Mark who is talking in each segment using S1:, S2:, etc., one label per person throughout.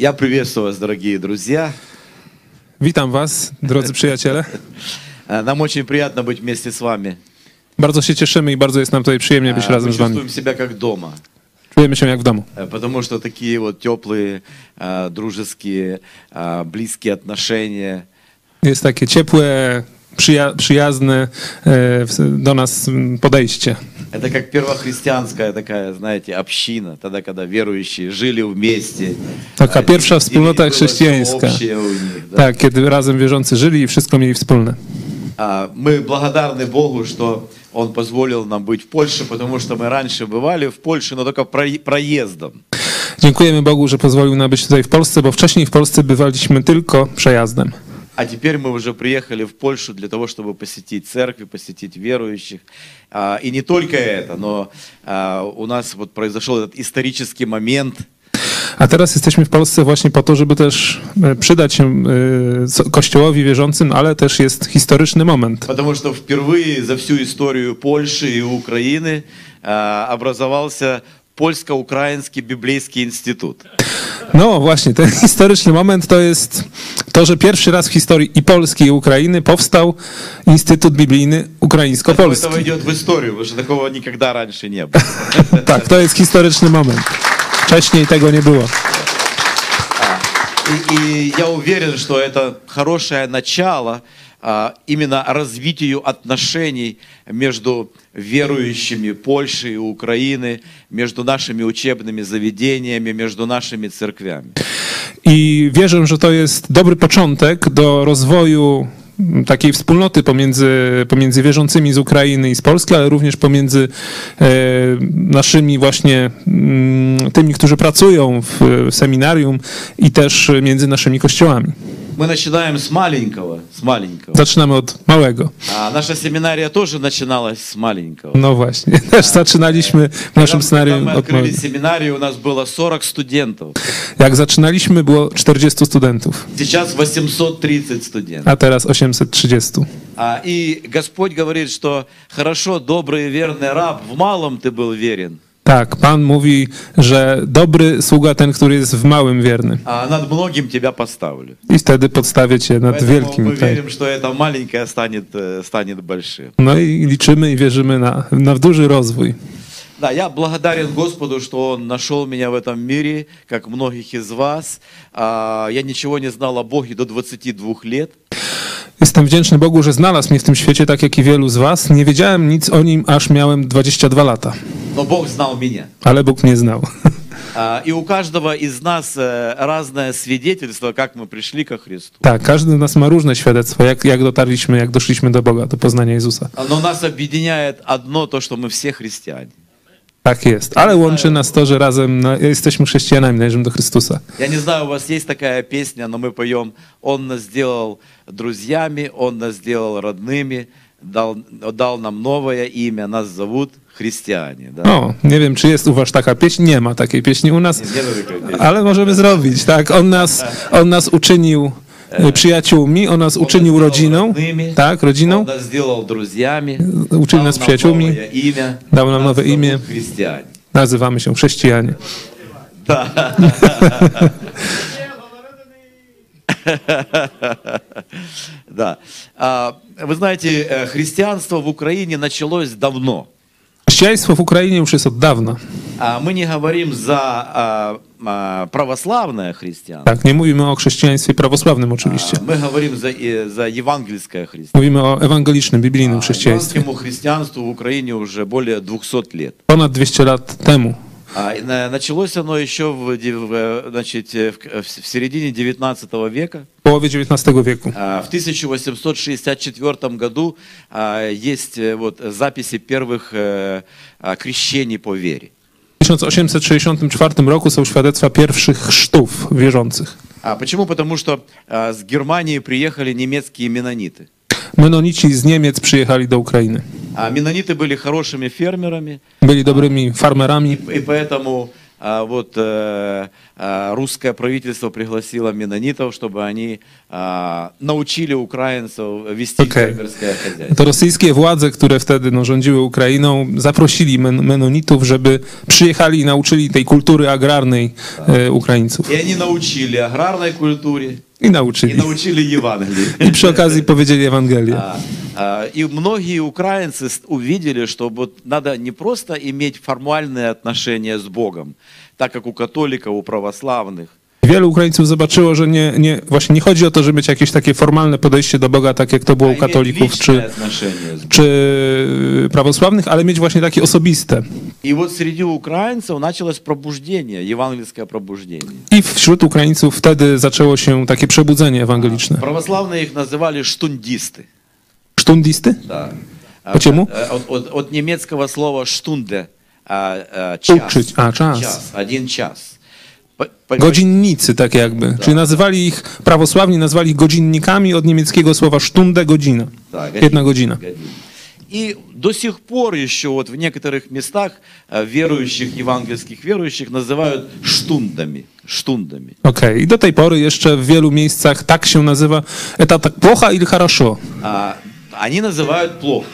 S1: Я приветствую вас, дорогие друзья.
S2: Witam Was, drodzy przyjaciele.
S1: Э, Нам очень приятно быть вместе с вами.
S2: Bardzo się cieszymy i bardzo jest nam tutaj przyjemnie być
S1: Э, Мы
S2: razem z Wami.
S1: чувствуем себя как дома,
S2: Czujemy się jak w domu,
S1: э, потому что такие вот теплые, э, дружеские, э, близкие отношения,
S2: jest takie ciepłe, przyja- przyjazne e, w- do nas m, podejście.
S1: это как первохристианская такая, знаете, община, тогда, когда верующие жили вместе.
S2: Taka
S1: Э,
S2: pierwsza
S1: и- и
S2: wspólnota
S1: было всё
S2: chrześcijańska.
S1: общее у них, да.
S2: Tak, kiedy razem wierzący żyli i wszystko mieli wspólne.
S1: А, Мы благодарны Богу, что Он позволил нам быть в Польше, потому что мы раньше бывали в Польше, но только про- проездом.
S2: Dziękujemy Bogu, że pozwolił nam być tutaj w Polsce, bo wcześniej w Polsce bywaliśmy tylko przejazdem.
S1: А теперь мы уже приехали в Польшу для того, чтобы посетить церкви, посетить верующих. А, И не только это, но а, у нас вот произошел этот исторический момент,
S2: A teraz jesteśmy w Polsce właśnie po to, żeby też e, przydać się e, so- Kościołowi wierzącym, ale też jest historyczny moment.
S1: потому что впервые за всю историю Польши и Украины а, образовался Польско-Украинский библейский институт.
S2: No właśnie, ten historyczny moment to jest to, że pierwszy raz w historii i Polski, i Ukrainy powstał Instytut Biblijny
S1: Поэтому
S2: Ukraińsko-Polski.
S1: Это войдет в историю, потому что такого никогда раньше не было.
S2: Tak, to jest historyczny moment. Wcześniej tego nie było.
S1: И, и я уверен, что это хорошее начало а, именно развитию отношений между верующими Польши и Украины, между нашими учебными заведениями, между нашими церквями.
S2: I wierzę, że to jest dobry początek do rozwoju mm, takiej wspólnoty pomiędzy, pomiędzy wierzącymi z Ukrainy i z Polski, ale również pomiędzy e, naszymi właśnie mm, tymi, którzy pracują w, w seminarium i też między naszymi kościołami.
S1: Мы начинаем с маленького, с маленького.
S2: Zaczynamy od małego.
S1: А наша семинария тоже начиналась с маленького.
S2: No właśnie, też zaczynaliśmy w naszym
S1: Когда, когда
S2: scenarium
S1: мы
S2: od
S1: открыли
S2: małego.
S1: семинарию, у нас было 40 студентов.
S2: Jak zaczynaliśmy, było 40 studentów,
S1: Сейчас 830 студентов.
S2: a teraz 830.
S1: А, и Господь говорит, что хорошо, добрый и верный раб, в малом ты был верен,
S2: Tak, Pan mówi, że dobry sługa ten, który jest w małym wierny.
S1: а над многим тебя поставлю.
S2: I wtedy podstawię cię nad
S1: Поэтому мы
S2: wielkim. Tak.
S1: верим, что это маленькое stanет, э, станет большим.
S2: No i liczymy i wierzymy na, na duży rozwój.
S1: Да, я благодарен Господу, что Он нашел меня в этом мире, как многих из вас. А, я ничего не знал о Боге до 22 лет.
S2: Jestem wdzięczny Bogu, że znalazł mnie w tym świecie, tak jak i wielu z was. Nie wiedziałem nic o nim, aż miałem 22 lata,
S1: Но Бог знал меня.
S2: ale Bóg mnie znał.
S1: А, И у каждого из нас э, разное свидетельство, как мы пришли ко Христу.
S2: Tak, każdy z nas ma różne świadectwa, jak, jak dotarliśmy, jak doszliśmy do Boga, do poznania Jezusa.
S1: Но нас объединяет одно то, что мы все христиане.
S2: Tak jest, ale łączy nas to, że razem na, jesteśmy chrześcijanami, należymy do Chrystusa.
S1: Я не знаю, у вас есть такая pieśnia, но мы поем «Он нас сделал друзьями, Он нас сделал родными, дал, дал нам новое имя, нас зовут христиане». Да?
S2: O, nie wiem, czy jest u was taka pieśń, nie ma takiej pieśni u nas,
S1: Нет такой песни?
S2: ale możemy zrobić, tak, on nas, on nas uczynił e, przyjaciółmi, on nas uczynił
S1: сделал
S2: rodziną,
S1: родными,
S2: tak,
S1: Он
S2: rodziną,
S1: нас сделал друзьями,
S2: Uczynił
S1: дал
S2: nas
S1: нам
S2: przyjaciółmi,
S1: новое имя,
S2: dał nam
S1: нас
S2: nowe
S1: зовут
S2: imię.
S1: христиане.
S2: nazywamy się chrześcijanie.
S1: Да. Да. А, Вы знаете, э, христианство в Украине началось давно.
S2: Chrześcijaństwo w Ukrainie już jest od dawna,
S1: А Мы не говорим за а, а, православное христианство,
S2: tak, nie mówimy o chrześcijaństwie prawosławnym
S1: а
S2: oczywiście,
S1: мы говорим за, э, за евангельское христианство. А,
S2: mówimy o ewangelicznym, biblijnym chrześcijaństwie.
S1: Евангельскому христианству в Украине уже более 200 лет.
S2: Ponad 200 lat temu,
S1: А, и на- Началось оно еще в, де- в, э, значит, э, в к- в с- в середине 19 века.
S2: w połowie XIX wieku.
S1: А, В 1864 году а, есть э, вот записи первых э, а, крещений по вере.
S2: W 1864 roku są świadectwa pierwszych chrztów wierzących.
S1: А почему? Потому что а, с Германии приехали немецкие менониты.
S2: Menonici z Niemiec przyjechali do Ukrainy.
S1: А менониты были хорошими фермерами,
S2: Byli dobrymi farmerami
S1: и поэтому а, вот э, а, русское правительство пригласило менонитов, чтобы они а, научили украинцев вести
S2: Окей.
S1: фермерское хозяйство.
S2: To rosyjskie władze, które wtedy no, rządziły Ukrainą, zaprosili men- menonitów, żeby przyjechali i nauczyli tej kultury agrarnej e, Ukraińców.
S1: И они научили аграрной культуре
S2: I
S1: и
S2: nauczyli.
S1: научили Евангелию.
S2: I przy okazji powiedzieli Ewangelię.
S1: А, а, И многие украинцы с- увидели, что вот надо не просто иметь формальные отношения с Богом, так как у католиков, у православных,
S2: Wielu Ukraińców zobaczyło, że nie, nie, właśnie nie chodzi o to, żeby mieć jakieś takie formalne podejście do Boga, tak jak to było
S1: а
S2: u
S1: иметь
S2: katolików
S1: личные
S2: czy,
S1: отношения с Богом.
S2: czy prawosławnych, ale mieć właśnie takie osobiste.
S1: И вот среди украинцев началось пробуждение, евангельское пробуждение.
S2: I wśród Ukraińców wtedy zaczęło się takie przebudzenie ewangeliczne.
S1: Православные их называли штундисты.
S2: Sztundisty?
S1: Да. А,
S2: Почему?
S1: э, От, от- от немецкого слова штунде а, а, час.
S2: Uczyć. A, czas.
S1: Час, один час. По- по-
S2: Godzinnicy, tak jakby. Czyli nazywali ich, prawosławni nazwali ich godzinnikami od niemieckiego słowa sztundę, godzina.
S1: Да, годин-
S2: Jedna godzina.
S1: годин. И до сих пор еще вот в некоторых местах э, верующих, евангельских верующих называют штундами. Штундами.
S2: Okej, i do tej pory jeszcze w wielu miejscach tak się nazywa etat plocha il хорошо.
S1: А, они называют плохо.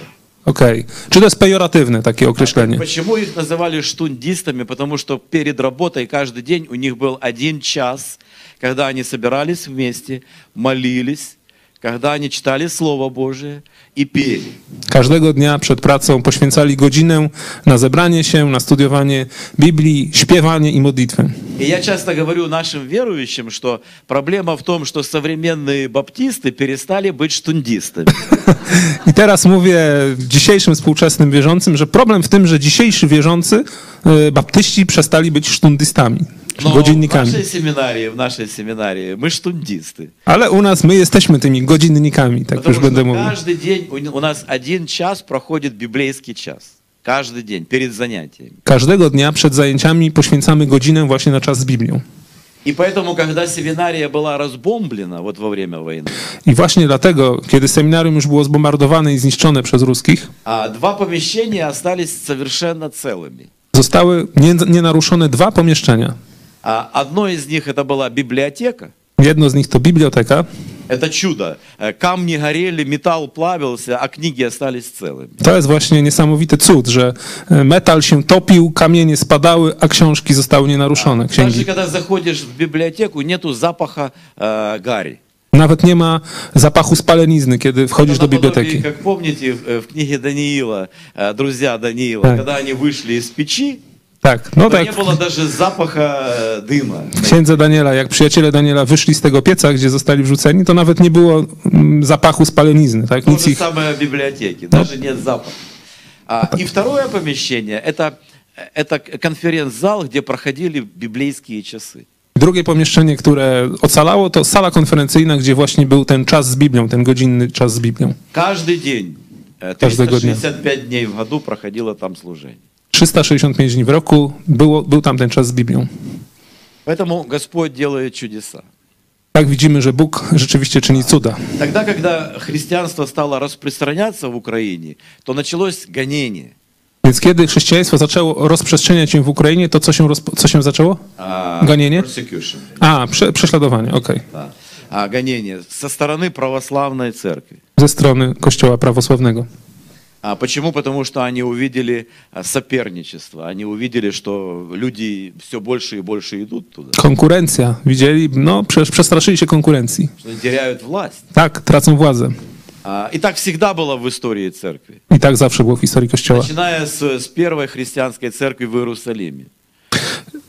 S2: Okej. Czy to jest pejoratywne takie określenie?
S1: Почему их называли штундистами? Потому что перед работой каждый день у них был один час, когда они собирались вместе, молились, когда они читали Слово Божие и пели.
S2: Każdego dnia przed pracą poświęcali godzinę na zebranie się, na studiowanie Biblii, śpiewanie i modlitwę.
S1: И я часто говорю нашим верующим, что проблема в том, что современные баптисты перестали быть штундистами.
S2: I teraz mówię dzisiejszym współczesnym wierzącym, że problem w tym, że dzisiejsi wierzący, e, baptyści, przestali być sztundystami, czy
S1: Но в
S2: godzinnikami.
S1: нашей семинарии, в нашей семинарии мы штундисты.
S2: Ale u nas my jesteśmy tymi godzinnikami, tak
S1: Потому
S2: już będę
S1: что
S2: mówił.
S1: каждый день у у нас один час проходит библейский час. Каждый день, перед занятиями.
S2: Każdego dnia przed zajęciami poświęcamy godzinę właśnie na czas z Biblią.
S1: И поэтому, когда семинария была разбомблена вот во время войны,
S2: I właśnie dlatego, kiedy seminarium już było zbombardowane i zniszczone przez ruskich,
S1: а, два помещения остались совершенно целыми.
S2: zostały nie- nienaruszone dwa pomieszczenia.
S1: А, Одно из них это была библиотека,
S2: Jedno z nich to biblioteka.
S1: Это чудо. Э, Камни горели, металл плавился, а книги остались целыми.
S2: To jest właśnie niesamowity cud, że e, metal się topił, kamienie spadały, a książki zostały nienaruszone,
S1: Даже
S2: księgi.
S1: когда заходишь в библиотеку, нету запаха э, гари.
S2: Nawet nie ma zapachu spalenizny, kiedy wchodzisz do
S1: Наподобие,
S2: biblioteki.
S1: Как помните в, э, в книге Даниила, э, друзья Даниила,
S2: Так. Ну
S1: когда они вышли из печи,
S2: Tak, no
S1: то
S2: tak.
S1: не было даже запаха э, дыма.
S2: W księdze Daniela, jak przyjaciele Daniela wyszli z tego pieca, gdzie zostali wrzuceni, to nawet nie było mm, zapachu spalenizny, tak?
S1: То
S2: Nic
S1: же
S2: ich.
S1: самое в библиотеке, даже нет запаха. А, и второе помещение это, это конференц-зал, где проходили библейские часы.
S2: Drugie pomieszczenie, które ocalało, to sala konferencyjna, gdzie właśnie był ten czas z Biblią, ten godzinny czas z Biblią.
S1: Каждый день, э,
S2: Каждого дня.
S1: 365 дней в году проходило там служение.
S2: 365 dni w roku było, był tam ten czas z Biblią.
S1: Поэтому Господь делает чудеса.
S2: Tak widzimy, że Bóg rzeczywiście czyni cuda.
S1: Тогда, когда христианство стало распространяться в Украине, то началось гонение.
S2: Więc kiedy chrześcijaństwo zaczęło rozprzestrzeniać się w Ukrainie, to co się, rozpo- co się zaczęło?
S1: А,
S2: Гонение?
S1: persecution,
S2: A, prze, prześladowanie, okej.
S1: да. А, гонение со стороны православной церкви.
S2: Ze strony Kościoła prawosławnego.
S1: А почему? Потому что они увидели а, соперничество, они увидели, что люди все больше и больше идут туда,
S2: Konkurencja, widzieli, no przecież przestraszyli się konkurencji.
S1: что они теряют власть.
S2: Tak, tracą władzę.
S1: А, И так всегда было в истории церкви.
S2: I tak zawsze było w historii Kościoła.
S1: Начиная с, с первой христианской церкви в Иерусалиме.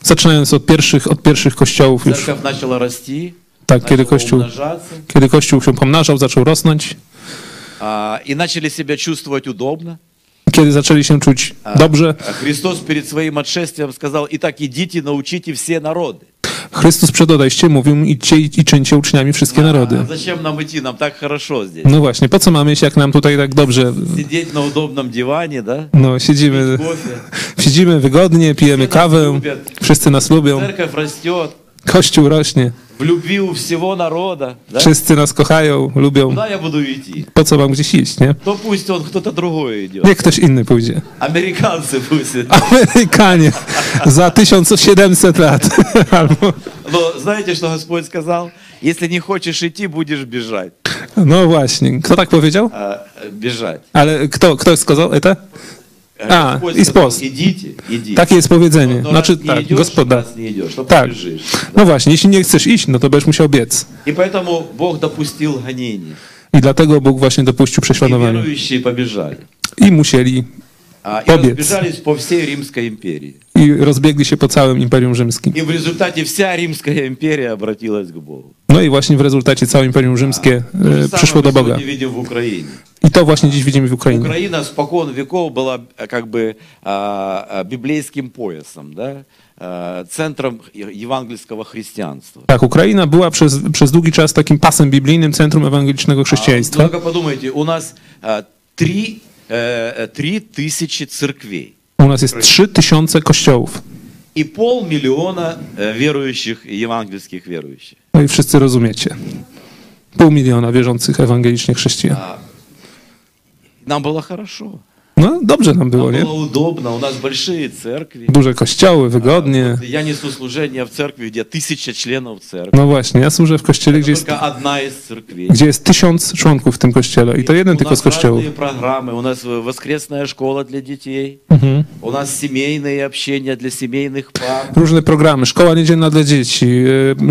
S2: Zaczynając od pierwszych, od pierwszych kościołów już.
S1: Церковь начала расти,
S2: Tak, kiedy
S1: начала
S2: Kościół,
S1: умножаться,
S2: kiedy kościół się pomnażał, zaczął rosnąć,
S1: а, и начали себя чувствовать удобно.
S2: kiedy zaczęli się czuć dobrze,
S1: А Христос перед своим отшествием сказал, «Итак, идите, naучите все народы».
S2: Chrystus przed odejściem mówił idźcie i i czyńcie uczniami wszystkie narody.
S1: А зачем нам идти? Нам так хорошо здесь.
S2: No właśnie, po co mamy iść, jak nam tutaj tak dobrze,
S1: Сидеть на удобном диване, да?
S2: no siedzimy,
S1: Кофе.
S2: siedzimy wygodnie, pijemy
S1: nas
S2: kawę,
S1: lubią.
S2: wszyscy nas lubią,
S1: Церковь растет,
S2: Kościół rośnie.
S1: в любви у всего народа, да,
S2: Wszyscy nas kochają, lubią.
S1: куда я буду идти?
S2: Po co mam gdzieś iść, nie?
S1: То пусть он кто-то другой идет.
S2: Niech ktoś inny pójdzie.
S1: Американцы пусть. идут.
S2: Amerykanie za 1700 lat. Albo,
S1: Но знаете, что Господь сказал? Если не хочешь идти, будешь бежать.
S2: no właśnie. Kto tak powiedział?
S1: А, э, бежать.
S2: Ale kto, E, kto сказал это?
S1: Э,
S2: А,
S1: Господь
S2: из
S1: сказал,
S2: пост.
S1: Идите, идите.
S2: Takie jest powiedzenie.
S1: Но раз
S2: Znaczy
S1: не
S2: tak,
S1: идешь,
S2: gospoda.
S1: раз не идешь, то
S2: Так.
S1: побежишь.
S2: No właśnie, jeśli nie chcesz iść, no to będziesz musiał biec.
S1: И поэтому Бог допустил гонений.
S2: I dlatego Bóg właśnie dopuścił
S1: И
S2: prześladowanie.
S1: верующие побежали.
S2: I musieli,
S1: А, и
S2: Побед.
S1: разбежались по всей Римской империи.
S2: i rozbiegli się po całym Imperium Rzymskim.
S1: И в результате вся Римская империя обратилась к Богу.
S2: No i właśnie w rezultacie całe Imperium Rzymskie
S1: То же
S2: e,
S1: самое
S2: przyszło
S1: мы
S2: do Boga.
S1: сегодня видим в Украине.
S2: I to właśnie dziś widzimy w Ukrainie.
S1: Украина спокон веков была э, как бы а, а, библейским поясом, да? а, центром е- евангельского христианства.
S2: Tak, Ukraina była przez, przez długi czas takim pasem biblijnym, centrum ewangelicznego
S1: А,
S2: chrześcijaństwa.
S1: ну, только подумайте, у нас а, три, э, э, три тысячи церквей
S2: U nas jest 3000 kościołów.
S1: и полмиллиона э, верующих, евангельскich верующих.
S2: No i wszyscy rozumiecie. Pół miliona wierzących ewangelicznie chrześcijan.
S1: Нам было хорошо,
S2: No dobrze nam było,
S1: нам
S2: nie?
S1: было удобно, у нас большие церкви.
S2: Duże kościoły, wygodnie.
S1: Я несу служение в церкви, где тысяча членов церкви.
S2: No właśnie, ja służę w kościele, gdzie jest,
S1: Только одна из церквей.
S2: gdzie jest tysiąc członków w tym kościele i to jeden
S1: у
S2: tylko
S1: нас
S2: z kościołów.
S1: разные программы. У нас э, воскресная школа для детей. У нас семейные общения для семейных пар.
S2: Różne programy, szkoła niedzielna dla dzieci,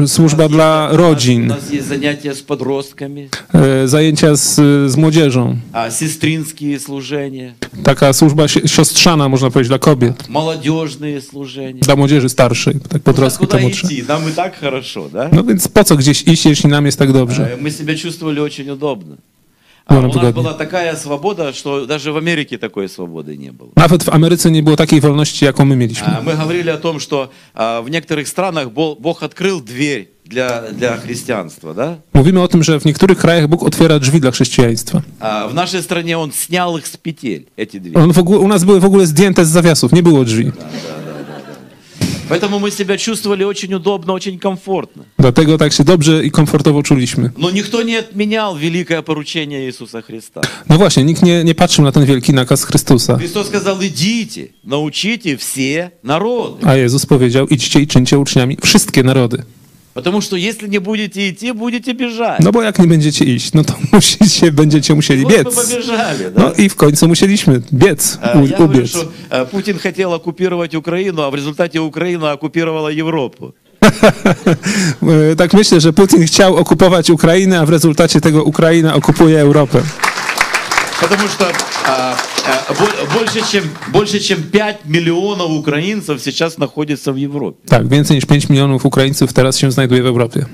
S2: e, służba dla
S1: У
S2: rodzin,
S1: нас есть занятия с poдростками,
S2: e, zajęcia z, z młodzieżą.
S1: а, сестринские служения,
S2: Taka służba si- siostrzana, można powiedzieć, dla kobiet,
S1: молодежные служения.
S2: dla młodzieży starszej, tak podrostkich,
S1: куда
S2: dla młodszych.
S1: идти? Нам и так хорошо, да?
S2: No więc po co gdzieś iść, jeśli nam jest tak dobrze?
S1: Э, Мы себя чувствовали очень удобно.
S2: Ну,
S1: А
S2: нам
S1: у нас
S2: выгоднее.
S1: была такая свобода, что даже в Америке такой свободы не было.
S2: Nawet w Ameryce nie było takiej wolności, jaką my mieliśmy.
S1: А, Мы говорили о том, что а, в некоторых странах Бо- Бог открыл дверь для, для христианства, да?
S2: Mówimy o tym, że w niektórych krajach Bóg otwiera drzwi dla chrześcijaństwa.
S1: А, В нашей стране on снял их с петель, эти двери.
S2: On w ogóle, u nas były w ogóle zdjęte z zawiasów, nie było drzwi.
S1: Поэтому мы себя чувствовали очень удобно, очень комфортно.
S2: Dlatego tak się dobrze i komfortowo czuliśmy.
S1: Но никто не отменял великое поручение Иисуса Христа.
S2: No właśnie, nikt nie, nie patrzył na ten wielki nakaz Chrystusa.
S1: Христос сказал, идите, научите все народы.
S2: A Jezus powiedział, idźcie i czyńcie uczniami wszystkie narody.
S1: Потому что если не будете идти, будете бежать.
S2: No bo jak nie będziecie iść, no to musicie, będziecie musieli
S1: Вот мы
S2: biec.
S1: побежали, да?
S2: No i w końcu musieliśmy biec,
S1: Э, Я
S2: u,
S1: говорю,
S2: ubiec.
S1: что э, Путин хотел оккупировать Украину, а в результате Украина оккупировала Европу.
S2: E, Tak myślę, że Putin chciał okupować Ukrainę, a w rezultacie tego Ukraina okupuje Europę.
S1: Потому что а, а, бо- больше, чем, больше чем 5 миллионов украинцев сейчас находятся в Европе.
S2: Tak, więcej niż 5 milionów Ukraińców teraz się znajduje w Europie.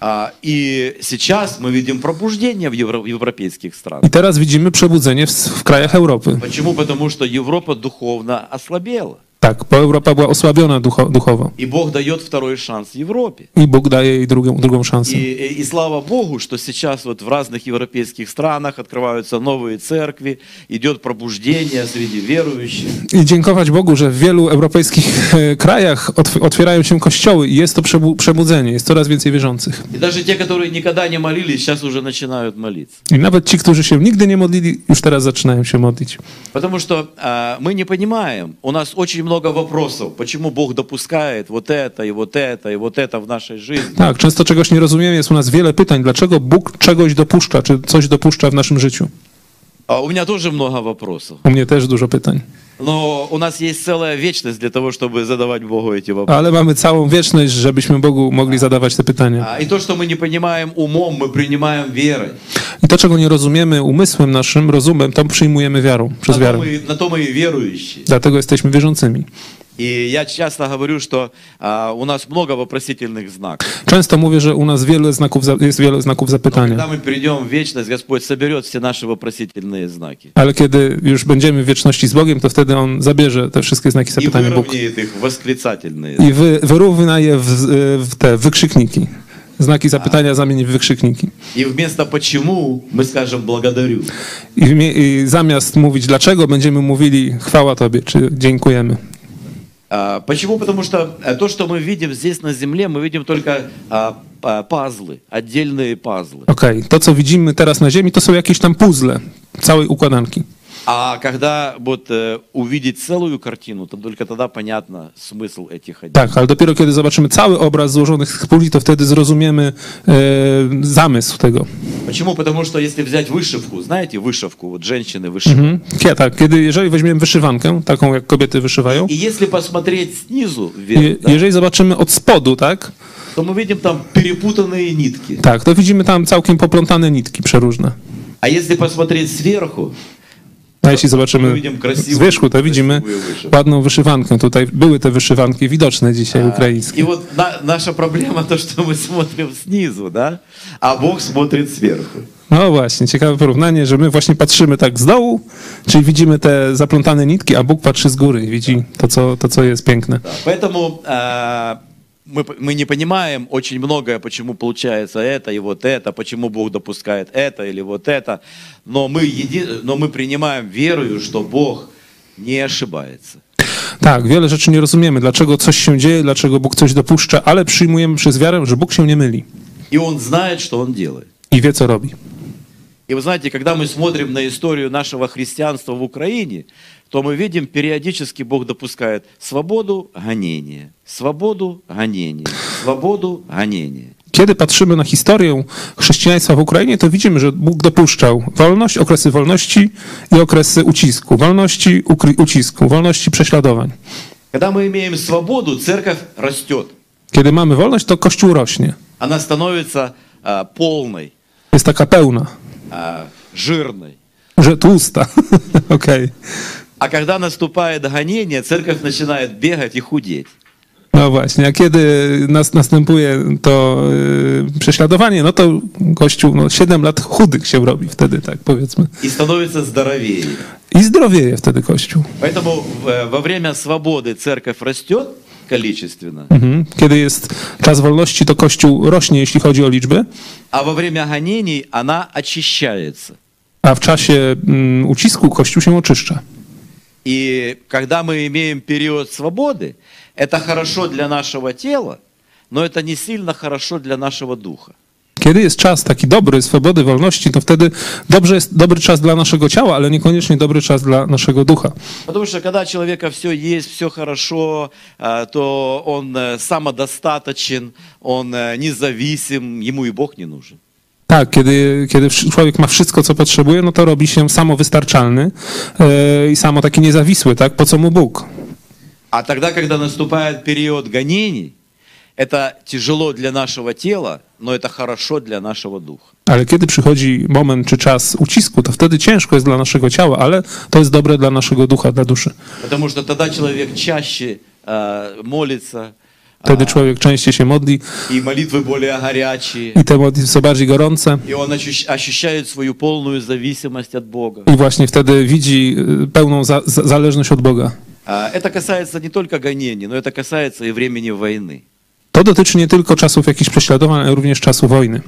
S1: А, и сейчас мы видим пробуждение в евро- европейских
S2: I
S1: странах.
S2: teraz widzimy przebudzenie w, s- w krajach Europy.
S1: Почему? Потому что Европа духовно ослабела.
S2: Tak, bo Europa była osłabiona ducho, duchowo.
S1: И Бог дает wторой шанс Европе.
S2: I Bóg daje jej drugą, drugą szansę.
S1: И, и- и слава Богу, что сейчас вот в разных европейских странах открываются новые церкви, идет пробуждение среди верующих.
S2: I dziękować Bogu, że w wielu europejskich e, krajach otw- otwierają się kościoły i jest to przebu- przebudzenie, jest coraz więcej wierzących.
S1: И даже те, которые никогда не молились, сейчас уже начинают молиться.
S2: I nawet ci, którzy się nigdy nie modlili, już teraz zaczynają się modlić.
S1: Потому что а, мы не понимаем, у нас очень много вопросов, почему Бог допускает вот это и вот это и вот это в нашей жизни.
S2: Tak, często czegoś nie rozumiemy, jest u nas wiele pytań, dlaczego Bóg czegoś dopuszcza, czy coś dopuszcza w naszym życiu.
S1: А у меня тоже много вопросов,
S2: U mnie też dużo pytań.
S1: но у нас есть целая вечность для того, чтобы задавать Богу эти вопросы.
S2: Ale mamy całą wieczność, żebyśmy Bogu mogli zadawać te pytania.
S1: А, и то, что мы не понимаем умом, мы принимаем верой.
S2: I to, czego nie rozumiemy umysłem naszym, rozumem, to przyjmujemy wiarą,
S1: На
S2: przez
S1: то,
S2: wiarę.
S1: мы, на то мы и верующие.
S2: Dlatego jesteśmy wierzącymi.
S1: И я часто говорю, что а, у нас много вопросительных знаков.
S2: Często mówię, że u nas wiele znaków za, jest wiele znaków
S1: Когда
S2: zapytania.
S1: мы перейдем в вечность, Господь соберет все наши вопросительные знаки.
S2: Ale kiedy już będziemy w wieczności z Bogiem, to wtedy On zabierze te wszystkie znaki
S1: И
S2: zapytania Bóg.
S1: выровняет их в восклицательные.
S2: I wy, wyrówna je w, e, w te wykrzykniki. Znaki zapytania zamieni w wykrzykniki.
S1: И вместо «почему» мы скажем «благодарю».
S2: I, w mie- I zamiast mówić dlaczego, będziemy mówili chwała Tobie, czy dziękujemy.
S1: А, Почему? Потому что э, то, что мы видим здесь на Земле, мы видим только а, па- пазлы, отдельные пазлы.
S2: Okej, to co widzimy teraz na Ziemi, to są jakieś tam puzzle całej układanki.
S1: А когда вот э, увидеть целую картину, то только тогда понятно смысл этих отделов.
S2: Tak, ale dopiero kiedy zobaczymy cały obraz złożonych z puzli, to wtedy zrozumiemy e, zamysł tego.
S1: Почему? Потому что если взять вышивку, знаете, wышивку, вот женщины вышивают.
S2: Mhm. Kie- Tak, kiedy, jeżeli weźmiemy wyszywankę, taką jak kobiety wyszywają,
S1: И если посмотреть снизу
S2: je,
S1: вверх, да,
S2: jeżeli zobaczymy od spodu, tak,
S1: то мы видим там перепутанные нитки.
S2: tak, to widzimy tam całkiem poplątane nitki przeróżne.
S1: А если посмотреть сверху,
S2: A jeśli
S1: No,
S2: zobaczymy
S1: widzimy
S2: z
S1: krasiwą-
S2: wierzchu, to widzimy
S1: krasiwą wyszywkę.
S2: ładną wyszywankę. Tutaj były te wyszywanki widoczne dzisiaj
S1: и
S2: ukraińskie.
S1: вот на- наша проблема то, что мы смотрим снизу, да, а Бог смотрит сверху.
S2: No właśnie, ciekawe porównanie, że my właśnie patrzymy tak z dołu, czyli widzimy te zaplątane nitki, a Bóg patrzy z góry i widzi to, co, to, co jest piękne.
S1: Поэтому э, мы, п- мы не понимаем очень многое, почему получается это и вот это, почему Бог допускает это или вот это, но мы, еди- но мы принимаем верою, что Бог не ошибается.
S2: Tak, wiele rzeczy nie rozumiemy, dlaczego coś się dzieje, dlaczego Bóg coś dopuszcza, ale przyjmujemy przez wiarę, że Bóg się nie myli
S1: И Он знает, что Он делает.
S2: i wie, co robi.
S1: И вы знаете, когда мы смотрим на историю нашего христианства в Украине, то мы видим, периодически Бог допускает свободу, гонение, свободу, гонение, свободу, гонение.
S2: Kiedy patrzymy na historię chrześcijaństwa w Ukrainie, to widzimy, że Bóg dopuszczał wolność, okresy wolności i okresy ucisku, wolności ukry- ucisku, wolności prześladowań.
S1: Когда мы имеем свободу, церковь растет.
S2: Kiedy mamy wolność, to Kościół rośnie,
S1: Она становится а, полной,
S2: jest taka pełna,
S1: а, жирной.
S2: że tłusta. Okej.
S1: А когда наступает гонение, церковь начинает бегать и худеть.
S2: No właśnie, a kiedy nas następuje to yy, prześladowanie, no to Kościół no, 7 lat chudych się robi wtedy, tak powiedzmy.
S1: И становится здоровее.
S2: I zdrowieje wtedy Kościół.
S1: Поэтому э, во время свободы церковь растет количественно,
S2: Mhm. Kiedy jest czas wolności, to Kościół rośnie, jeśli chodzi o liczby,
S1: а во время гонений она очищается.
S2: a w czasie mm, ucisku Kościół się oczyszcza.
S1: И когда мы имеем период свободы, это хорошо для нашего tела, но это не сильно хорошо для нашего духа.
S2: Kiedy jest czas taki dobry, swobody, wolności, to wtedy dobrze jest dobry czas dla naszego ciała, ale niekoniecznie dobry czas dla naszego ducha.
S1: Потому что когда у человека все есть, все хорошо, э, то он э, самодостаточен, он э, независим, ему и Бог не нужен.
S2: Tak, kiedy, kiedy wsz- człowiek ma wszystko, co potrzebuje, no to robi się samowystarczalny yy, i samo taki niezawisły, tak? Po co mu Bóg?
S1: А тогда, когда наступает период гонений, это тяжело для нашего тела, но это хорошо для нашего духа.
S2: Ale kiedy przychodzi moment czy czas ucisku, to wtedy ciężko jest dla naszego ciała, ale to jest dobre dla naszego ducha, dla duszy.
S1: Потому что тогда человек чаще э, молится, а,
S2: Wtedy człowiek częściej się modli
S1: и молитвы более горячие,
S2: i te modlitwy są bardziej gorące.
S1: и он ощущ- ощущает свою полную зависимость от Бога.
S2: I właśnie wtedy widzi y, pełną za, za, zależność od Boga.
S1: А, это касается не только гонений, но это касается и времени войны.
S2: To dotyczy nie tylko czasów jakichś prześladowań, ale również czasu wojny.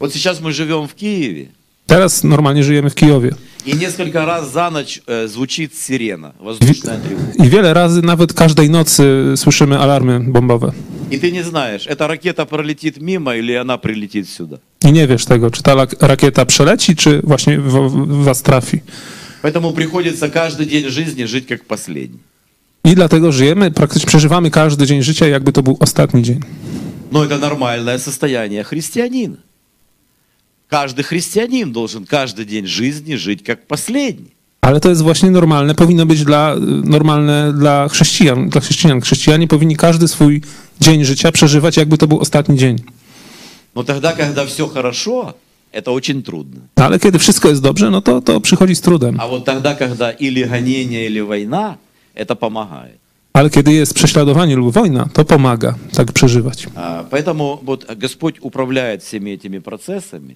S1: Вот сейчас мы живем в Киеве,
S2: Teraz normalnie żyjemy w Kijowie.
S1: и несколько раз за ночь э, звучит сирена, воздушная тревога.
S2: I wiele razy, nawet każdej nocy, słyszymy alarmy bombowe.
S1: И ты не знаешь, эта ракета пролетит мимо или она прилетит сюда.
S2: I nie wiesz tego, czy ta lak- rakieta przeleci, czy właśnie w, w was trafi.
S1: Поэтому приходится каждый день жизни жить как последний.
S2: I dlatego żyjemy, praktycznie przeżywamy każdy dzień życia, jakby to był ostatni dzień.
S1: Но это нормальное состояние христианина. Каждый христианин должен каждый день жизни жить как последний.
S2: Ale to jest właśnie normalne, powinno być dla, y, normalne dla chrześcijan. Dla chrześcijan. Chrześcijanie powinni każdy swój dzień życia przeżywać, jakby to był ostatni dzień.
S1: Но тогда, когда все хорошо, это очень trudно.
S2: No, ale kiedy wszystko jest dobrze, no to, to przychodzi z trudem.
S1: А вот тогда, когда или гонение, или война, это помогает.
S2: Ale kiedy jest prześladowanie lub wojna, to pomaga tak przeżywać.
S1: А, Поэтому вот Господь управляет всеми этими процессами,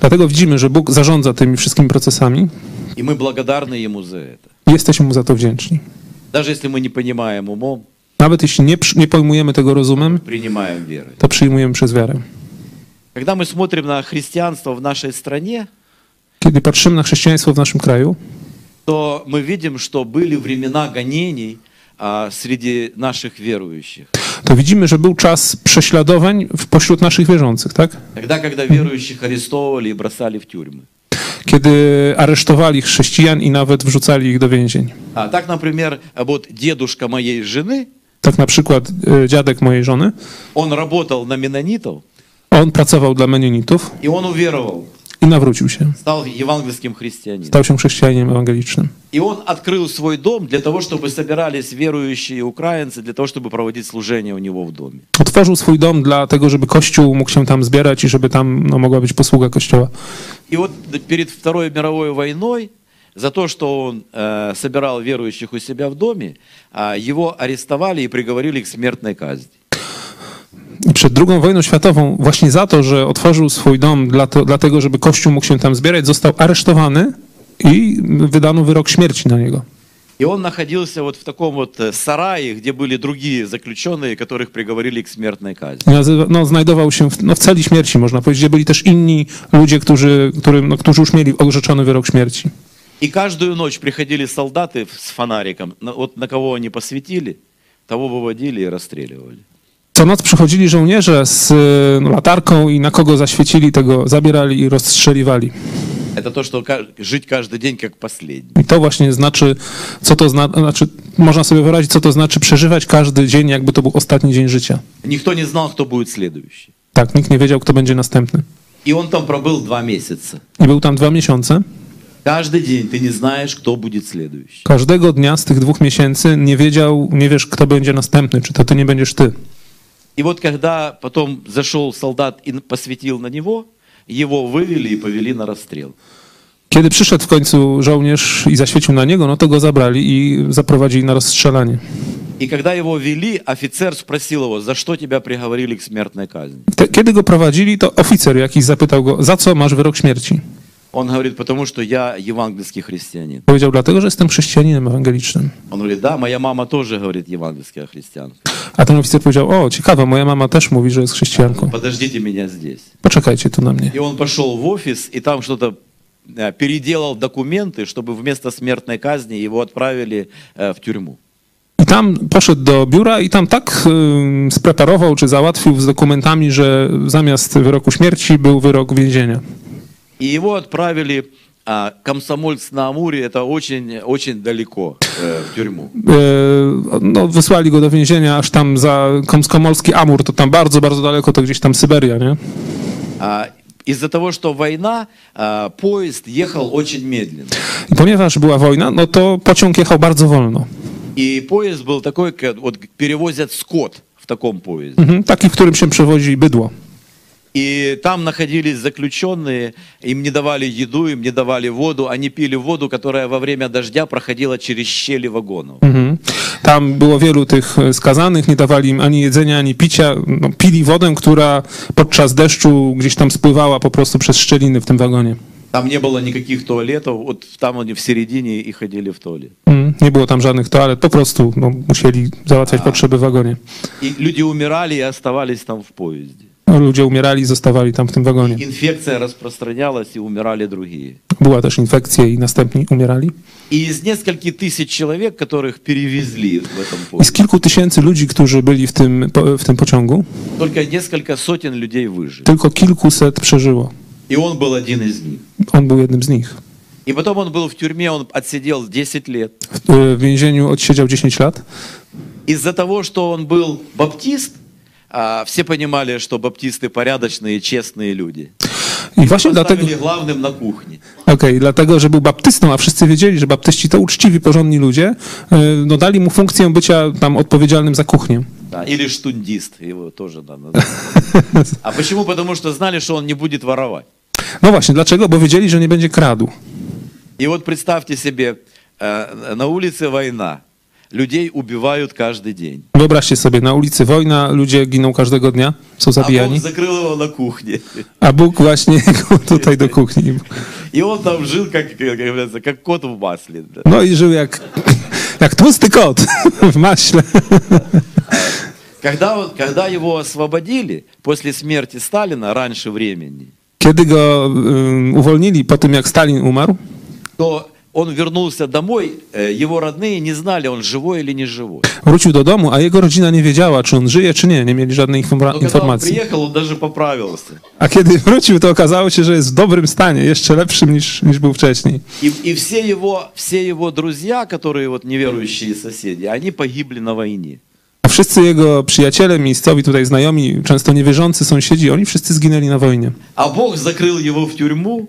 S2: Dlatego widzimy, że Bóg zarządza tymi wszystkimi procesami
S1: и мы благодарны Ему за это.
S2: i jesteśmy Mu za to wdzięczni.
S1: Даже если мы не понимаем умом,
S2: Nawet jeśli nie, przy- nie pojmujemy tego rozumem,
S1: принимаем верой.
S2: to przyjmujemy przez wiarę.
S1: Когда мы смотрим на христианство в нашей стране,
S2: Kiedy patrzymy na chrześcijaństwo w naszym kraju,
S1: то мы видим, что были времена гонений, а, а, среди наших верующих.
S2: to widzimy, że był czas prześladowań w- pośród naszych wierzących, tak?
S1: Тогда, когда верующих арестовывали и brosали в tюрьмы.
S2: Kiedy aresztowali chrześcijan i nawet wrzucali ich do więzień.
S1: А так, например, вот дедушка моей жены,
S2: Tak na przykład e, dziadek mojej żony,
S1: он работал на менонитов,
S2: on pracował dla Menionitów
S1: и он уверовал,
S2: i nawrócił się.
S1: стал евангельским христианином.
S2: Stał się chrześcijaninem ewangelicznym.
S1: И он открыл свой дом для того, чтобы собирались верующие украинцы, для того, чтобы проводить служение у него в доме.
S2: Otworzył swój dom dlatego, żeby Kościół mógł się tam zbierać i żeby tam no, mogła być posługa Kościoła.
S1: И вот перед Второй мировой войной за то, что он э, собирал верующих у себя в доме, а, его арестовали и приговорили к смертной казни.
S2: I przed II wojną światową właśnie za to, że otworzył swój dom dla to, dlatego, żeby Kościół mógł się tam zbierać, został aresztowany i wydano wyrok śmierci na niego.
S1: И он находился вот в таком вот э, сарае, где были другие заключенные, которых приговорили к смертной казни.
S2: Nazywa, no, znajdował się w, no, w celi śmierci, można powiedzieć, gdzie byli też inni ludzie, którzy, którym, no, którzy już mieli orzeczony wyrok śmierci.
S1: И каждую ночь приходили солдаты в- с фонариком, на- вот на кого они посветили, того выводили и расстреливали.
S2: Co noc przychodzili żołnierze z y, no, latarką i na kogo zaświecili, tego zabierali i rozstrzeliwali.
S1: Это то, что ка- жить каждый день как последний.
S2: I to właśnie znaczy, co to zna, znaczy, można sobie wyobrazić, co to znaczy przeżywać każdy dzień, jakby to był ostatni dzień życia.
S1: Никто не знал, кто будет следующий.
S2: Tak, nikt nie wiedział, kto będzie następny.
S1: И он там пробыл два месяца.
S2: I był tam dwa miesiące.
S1: Каждый день ты не знаешь, кто будет следующий.
S2: Każdego dnia z tych dwóch miesięcy nie wiedział, nie wiesz, kto będzie następny, czy to ty nie będziesz ty.
S1: И вот когда потом зашел солдат и посветил на него, его вывели и повели на расстрел.
S2: Kiedy przyszedł w końcu żołnierz i zaświecił na niego, no to go zabrali i zaprowadzili na rozstrzelanie.
S1: И когда его вели, офицер спросил его, за что тебя приговорили к смертной казни.
S2: Te, kiedy go prowadzili, to oficer jakiś zapytał go, za co masz wyrok śmierci?
S1: Он говорит, потому что я евангельский христианин.
S2: Powiedział, dlatego, że jestem chrześcijaninem ewangelicznym.
S1: Он говорит, да, моя мама тоже говорит евангельская христианка.
S2: A ten oficer powiedział, o, ciekawe, moja mama też mówi, że jest chrześcijanką.
S1: Подождите меня здесь.
S2: Poczekajcie tu na mnie.
S1: И он пошел в офис, и там что-то э, переделал документы, чтобы вместо смертной казни его отправили э, в тюрьму.
S2: I tam poszedł do biura i tam tak ym, spreparował, czy załatwił z dokumentami, że zamiast wyroku śmierci był wyrok więzienia.
S1: И его отправили а, комсомольц на Амуре, это очень, очень далеко э, в тюрьму.
S2: Yy, no, wysłali go do więzienia aż tam za komskomolski Amur, to tam bardzo, bardzo daleko, to gdzieś tam Syberia, nie?
S1: А, из-за того, что война, а, поезд ехал очень медленно.
S2: I ponieważ była wojna, no to pociąg jechał bardzo wolno.
S1: И поезд был такой, как вот перевозят скот в таком поезде.
S2: Mhm, taki, w którym się przewozi bydło.
S1: И там находились заключенные, им не давали еду, им не давали воду, они пили воду, которая во время дождя проходила через щели вагонов.
S2: Mhm. Tam było wielu tych e, skazanych, nie dawali im ani jedzenia, ani picia. No, pili wodę, która podczas deszczu gdzieś tam spływała po prostu przez szczeliny w tym wagonie.
S1: Там не было никакich туалетов, вот там они в seredinie и ходили в туалет.
S2: Mm, Nie było tam żadnych toalet, po prostu no, musieli załatwiać potrzeby w wagonie.
S1: И люди умирали и оставались там в поезде.
S2: No, Ludzie umierali, zostawali tam w tym wagonie.
S1: Инфекция распространялась и умирали другие.
S2: Była też infekcja i następni umierali.
S1: И из нескольких тысяч человек, которых перевезли в этом
S2: I z
S1: поезде,
S2: kilku tysięcy ludzi, którzy byli w tym, po- w tym pociągu,
S1: только nесколько sотен людей выжили.
S2: tylko kilkuset przeżyło.
S1: И он был один из них.
S2: On był jednym z nich.
S1: И потом он был в тюрьме, он отсидел 10 лет.
S2: W, e, w więzieniu odsiedział 10 lat.
S1: Из-за того, что он был баптист, а, все понимали, что баптисты порядочные, честные люди.
S2: I właśnie dlatego,
S1: Поставили главным на кухне.
S2: okej, dlatego, że był baptystą, a wszyscy wiedzieli, że baptyści to uczciwi, porządni ludzie, e, no dali mu funkcję bycia tam odpowiedzialnym za kuchnię.
S1: Да, или штундист, его тоже надо. назвать. А почему? Потому что знали, что он не будет воровать.
S2: No właśnie, dlaczego? Bo wiedzieli, że nie będzie kradł.
S1: И вот представьте себе, э, на улице война, людей убивают каждый день.
S2: Wyobraźcie sobie, na ulicy wojna, ludzie giną każdego dnia, są
S1: А Бог
S2: zabijani,
S1: закрыл его на кухне.
S2: a Bóg właśnie go tutaj do kuchni.
S1: И он там жил, как, как говорится, как кот в масле. да.
S2: No i żył jak, jak tłusty kot w maśle.
S1: Когда, он- когда его освободили после смерти Сталина раньше времени,
S2: Kiedy go ym, uwolnili po tym, jak Stalin umarł,
S1: то он вернулся домой, э, его родные не знали, он живой или не живой.
S2: Wrócił do domu, a jego rodzina nie wiedziała, czy on żyje, czy nie. Nie mieli żadnej informa-
S1: Но когда он
S2: informacji.
S1: приехал, он даже поправился.
S2: A kiedy wrócił, to okazało się, że jest w dobrym stanie, jeszcze lepszym niż, niż był wcześniej.
S1: И, и все, его, все его друзья, которые вот неверующие соседи, они погибли на войне.
S2: A wszyscy jego przyjaciele, miejscowi tutaj znajomi, często niewierzący sąsiedzi, oni wszyscy zginęli na wojnie.
S1: А Бог закрыл его в тюрьму,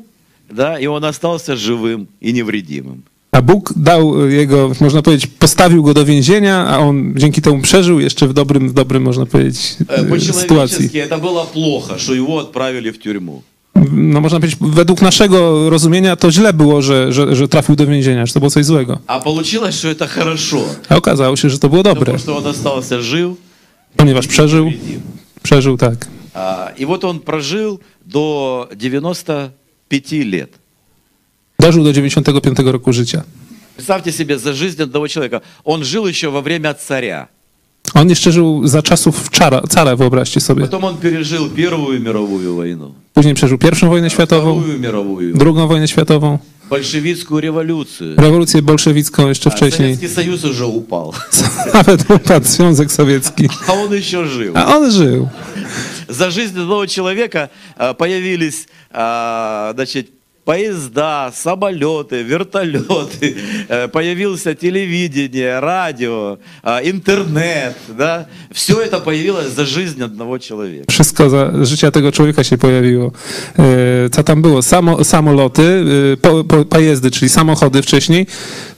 S1: да, и он остался живым и невредимым.
S2: A Bóg dał y, jego, można powiedzieć, postawił go do więzienia, a on dzięki temu przeżył jeszcze w dobrym, w dobrym można powiedzieć,
S1: Э,
S2: y, sytuacji.
S1: По-человечески это было plохо, что его отправили в тюрьму.
S2: No można powiedzieć, według naszego rozumienia to źle było, że, że, że trafił do więzienia, że to było coś złego.
S1: А получилось, что это хорошо,
S2: A okazało się, że to było dobre,
S1: потому что он остался жив.
S2: ponieważ przeżył, przeżył tak.
S1: А, И вот он прожил до 95 lет.
S2: Dożył do 95 roku życia.
S1: Представьте себе, за жизнь одного человека. Он жил еще во время царя.
S2: On jeszcze żył za czasów czara, cara, wyobraźcie sobie.
S1: Потом он пережил Первую мировую войну,
S2: Później przeżył pierwszą wojnę światową,
S1: Вторую мировую,
S2: drugą wojnę światową,
S1: большевистскую революцию.
S2: rewolucję bolszewicką jeszcze
S1: А
S2: wcześniej.
S1: Советский Союз уже упал,
S2: Nawet upadł Związek Sowiecki.
S1: а он еще жив.
S2: A on żył.
S1: За жизнь одного человека а, появились а, значит, поезда, самолеты, вертолеты, э, появился телевидение, радио, а, интернет. Да? Все это появилось за жизнь одного человека.
S2: Wszystko za życia tego człowieka się pojawiło. E, Co tam było? Samo, samoloty, e, po, po, pojezdy, czyli samochody wcześniej,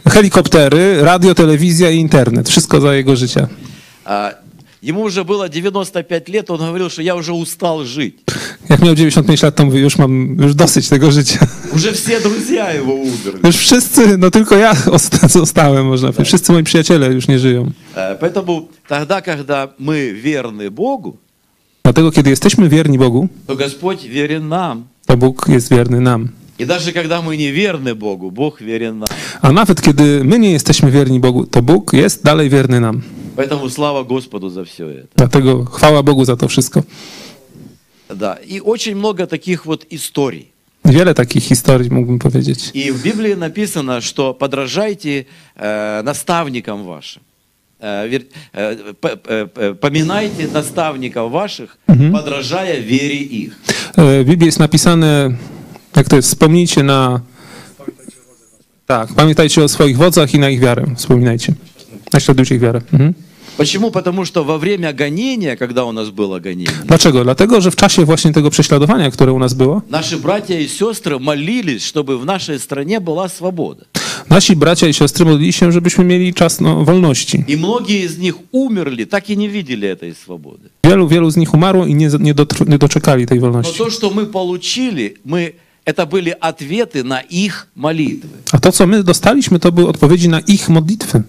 S2: helikoptery, radio, telewizja i internet. Wszystko za jego życia.
S1: А, Ему уже было 95 лет, он говорил, что я уже устал жить.
S2: Jak miał 95 lat, to mówił, już mam już dosyć tego życia.
S1: Уже все друзья его умерли.
S2: Już wszyscy, no tylko ja osta- zostałem, można powiedzieć. Wszyscy moi przyjaciele już nie żyją.
S1: Э, Поэтому тогда, когда мы верны Богу,
S2: Dlatego, kiedy jesteśmy wierni Bogu,
S1: то Господь верен нам.
S2: to Bóg jest wierny nam.
S1: И даже когда мы не верны Богу, Бог верен нам.
S2: A nawet kiedy my nie jesteśmy wierni Bogu, to Bóg jest dalej wierny nam.
S1: Поэтому слава Господу за все это.
S2: Dlatego chwała Bogu za to wszystko.
S1: Да. И очень много takich вот историй.
S2: Wiele takich historii mógłbym powiedzieć.
S1: И в Библии написано, что подражайте э, наставникам вашим. Э, вер- э, п- э, э, поминайте наставников ваших, подражая вере их.
S2: E, W Biblii jest napisane, jak to jest, wspomnijcie na... Tak, pamiętajcie o swoich wodzach i na ich wiarę. Wspominajcie. Naśladujcie ich wiarę. Mhm.
S1: Почему? Потому что во время гонения, когда у нас было гонение,
S2: Dlaczego? Dlatego, że w czasie właśnie tego prześladowania, które u nas było,
S1: наши братья и сестры молились, чтобы в нашей стране была свобода.
S2: nasi bracia i siostry modlili się, żebyśmy mieli czas no, wolności.
S1: И многие из них умерли, так и не видели этой свободы.
S2: Wielu, wielu z nich umarło i nie, nie, dotr- nie doczekali tej
S1: Но
S2: wolności.
S1: то, что мы получили, мы, это были ответы на их молитвы.
S2: A to, co my dostaliśmy, to były odpowiedzi na ich modlitwy.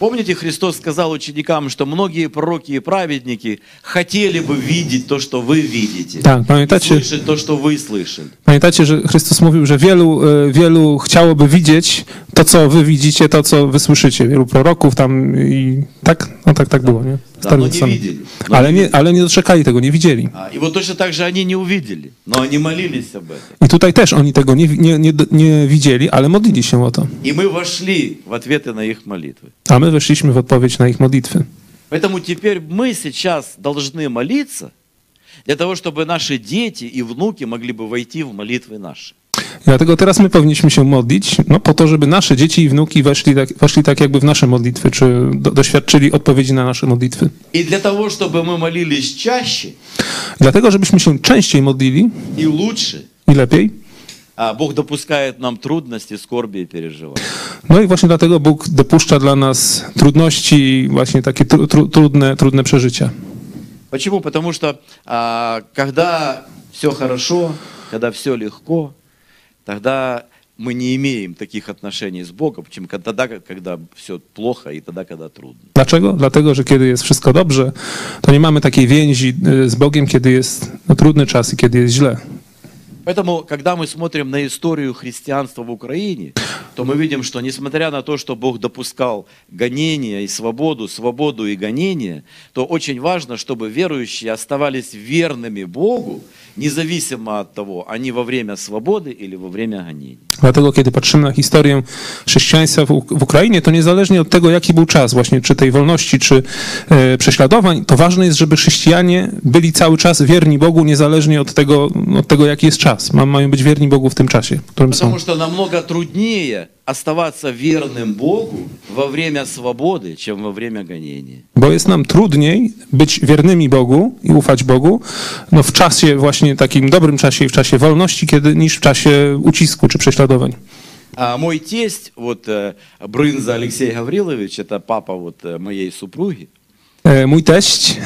S1: Помните, Христос сказал ученикам, что многие пророки и праведники хотели бы видеть то, что вы видите,
S2: Tak, pamiętacie,
S1: слышать то, что вы слышали.
S2: pamiętacie, że Chrystus mówił, że wielu, e, wielu chciałoby widzieć to, co wy widzicie, to, co wy słyszycie. Wielu proroków tam i tak, no tak, tak było, nie? W
S1: no
S2: Starym
S1: nie
S2: Testamencie.
S1: widzieli. No
S2: Ale
S1: nie
S2: nie, ale nie doczekali tego, nie widzieli.
S1: А, И вот точно так же они не увидели, но они молились об этом.
S2: I tutaj też oni tego nie, nie, nie, nie widzieli, ale modlili się o to.
S1: И мы вошли в ответы на их молитвы.
S2: A my weszliśmy w odpowiedź na ich modlitwy.
S1: Поэтому теперь мы сейчас должны молиться для того, чтобы наши дети и внуки могли бы войти в молитвы наши.
S2: Dlatego teraz my powinniśmy się modlić, no po to, żeby nasze dzieci i wnuki weszli tak, weszli tak jakby w nasze modlitwy, czy do, doświadczyli odpowiedzi na nasze modlitwy.
S1: И для того, чтобы мы молились чаще
S2: Dlatego, żebyśmy się częściej modlili
S1: и лучше,
S2: i lepiej,
S1: а Бог допускает нам трудности, скорби и переживания.
S2: No i właśnie dlatego Bóg dopuszcza dla nas trudności i właśnie takie tru, tru, trudne, trudne przeżycia.
S1: Почему? Потому что а, когда все хорошо, когда все легко, тогда мы не имеем таких отношений с Богом, чем тогда, когда все плохо и тогда, когда трудно.
S2: Dlaczego? Dlatego, że kiedy jest wszystko dobrze, to nie mamy takiej więzi y, z Bogiem, kiedy jest no, trudny czas i kiedy jest źle.
S1: Поэтому, когда мы смотрим на историю христианства в Украине, то мы видим, что несмотря на то, что Бог допускал гонения и свободу, свободу и гонения, то очень важно, чтобы верующие оставались верными Богу, независимо от того, они во время свободы или во время гонений.
S2: Dlatego, kiedy patrzymy na historię chrześcijaństwa w, Uk- w Ukrainie, to niezależnie od tego, jaki był czas, właśnie czy tej wolności, czy e, prześladowań, to ważne jest, żeby chrześcijanie byli cały czas wierni Bogu, niezależnie od tego, od tego jaki jest czas. Ma, mają być wierni Bogu w tym czasie, w którym są.
S1: Потому что намного труднее оставаться верным Богу во время свободы, чем во время гонения.
S2: Bo jest nam trudniej być wiernymi Bogu i ufać Bogu no, w czasie, właśnie takim dobrym czasie, i w czasie wolności, kiedy, niż w czasie ucisku czy prześladowań.
S1: А мой тесть, вот э, Брынза Алексей Гаврилович, это папа вот э, моей супруги,
S2: E, Mój teść,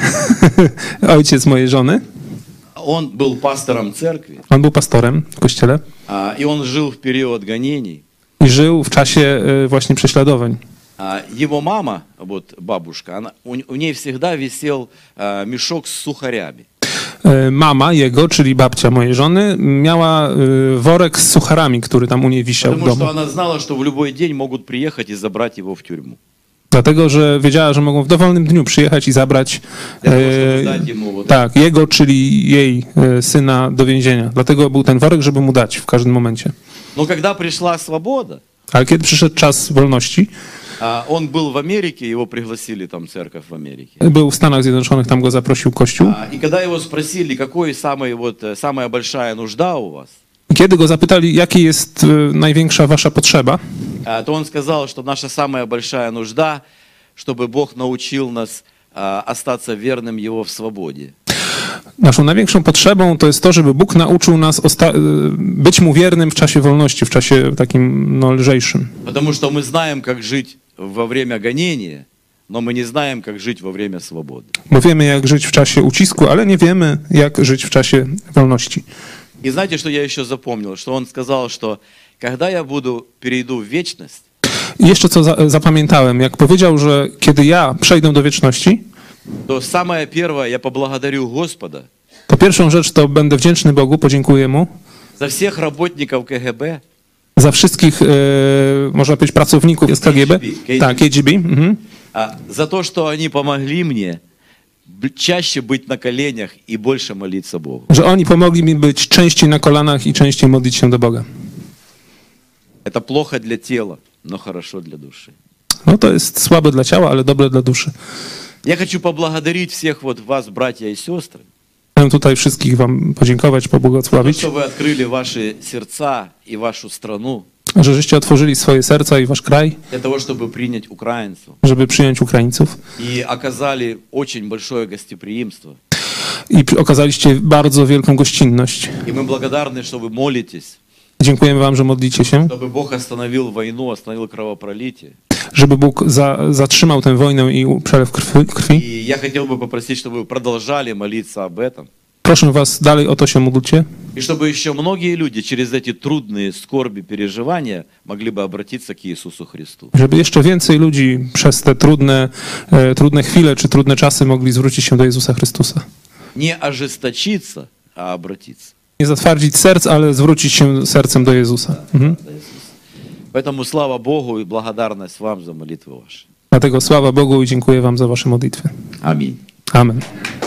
S2: ojciec mojej żony,
S1: он был пастором церкви,
S2: on był pastorem w kościele
S1: а, и он жил в период гонений.
S2: i żył w czasie e, właśnie prześladowań.
S1: А, Его мама, вот бабушка, она, у, у ней всегда висел а, мешок с сухарями.
S2: E, Mama jego, czyli babcia mojej żony, miała e, worek z sucharami, który tam u niej wisiał w
S1: Потому
S2: domu.
S1: что она знала, что в любой день могут приехать и забрать его в тюрьму.
S2: Dlatego, że wiedziała, że mogą w dowolnym dniu przyjechać i zabrać e,
S1: Ja to muszę dać jemu, bo-
S2: tak, jego, czyli jej e, syna do więzienia. Dlatego był ten worek, żeby mu dać w każdym momencie.
S1: Но когда prишла свобода,
S2: Ale kiedy przyszedł czas wolności,
S1: а, он был в Америке, его пригласили там церковь в Америке.
S2: był w Stanach Zjednoczonych, tam go zaprosił Kościół.
S1: А, И когда его спросили, какой самый, вот, э, самая большая нужда у вас,
S2: I Kiedy go zapytali, jaki jest e, największa wasza potrzeba,
S1: а, то он сказал, что наша самая большая нужда, чтобы Бог научил нас а, остаться верным Его в свободе.
S2: Naszą największą potrzebą to jest to, żeby Bóg nauczył nas osta- y, być Mu wiernym w czasie wolności, w czasie takim no, lżejszym.
S1: Потому что мы знаем, как жить во время гонения, но мы не знаем, как жить во время свободы.
S2: Bo wiemy, jak żyć w czasie ucisku, ale nie wiemy, jak żyć w czasie wolności.
S1: И знаете, что я еще запомнил? Что он сказал, что когда я буду, перейду в вечность,
S2: I jeszcze co za- zapamiętałem, jak powiedział, że kiedy ja przejdę do wieczności,
S1: то самое первое, я поблагодарю Господа
S2: to pierwszą rzecz to będę wdzięczny Bogu, podziękuję Mu
S1: за всех работников КГБ,
S2: za wszystkich, y, można powiedzieć, pracowników z KGB.
S1: KGB.
S2: Tak, KGB. Mhm.
S1: а, за то, что они помогли мне б- чаще быть на коленях и больше молиться Богу.
S2: Że oni pomogli mi być częściej na kolanach i częściej modlić się do Boga.
S1: Это плохо для тела, но хорошо для души.
S2: No to jest słabe dla ciała, ale dobre dla duszy.
S1: Я хочу поблагодарить всех вот вас, братья и сестры,
S2: Chciałem tutaj wszystkich Wam podziękować,
S1: за то,
S2: pobłogosławić,
S1: что вы открыли ваши сердца и вашу страну
S2: że żeście otworzyli swoje serca i Wasz kraj,
S1: для того, чтобы принять украинцев
S2: żeby przyjąć Ukraińców
S1: и оказали очень большое гостеприимство.
S2: i przy- okazaliście bardzo wielką gościnność.
S1: И мы благодарны, что вы молитесь,
S2: Dziękujemy Wam, że modlicie się,
S1: чтобы Бог остановил войну, остановил кровопролитие.
S2: żeby Bóg za, zatrzymał tę wojnę i u- przelew krwi,
S1: И
S2: krwi.
S1: я хотел бы попросить, чтобы вы продолжали молиться об этом.
S2: Proszę Was, dalej o to się módlcie
S1: И чтобы еще многие люди через эти трудные скорби, переживания могли бы obратиться к Иисусу Христу.
S2: żeby jeszcze więcej ludzi przez te trudne, e, trudne chwile czy trudne czasy mogli zwrócić się do Jezusa Chrystusa.
S1: Не ожесточиться, а обратиться.
S2: Nie zatwardzić serc, ale zwrócić się sercem do Jezusa. Mhm.
S1: до Иисуса. Поэтому слава Богу и благодарность вам за молитвы ваши.
S2: Dlatego sława Bogu i dziękuję Wam za Wasze modlitwy.
S1: Аминь.
S2: Amen.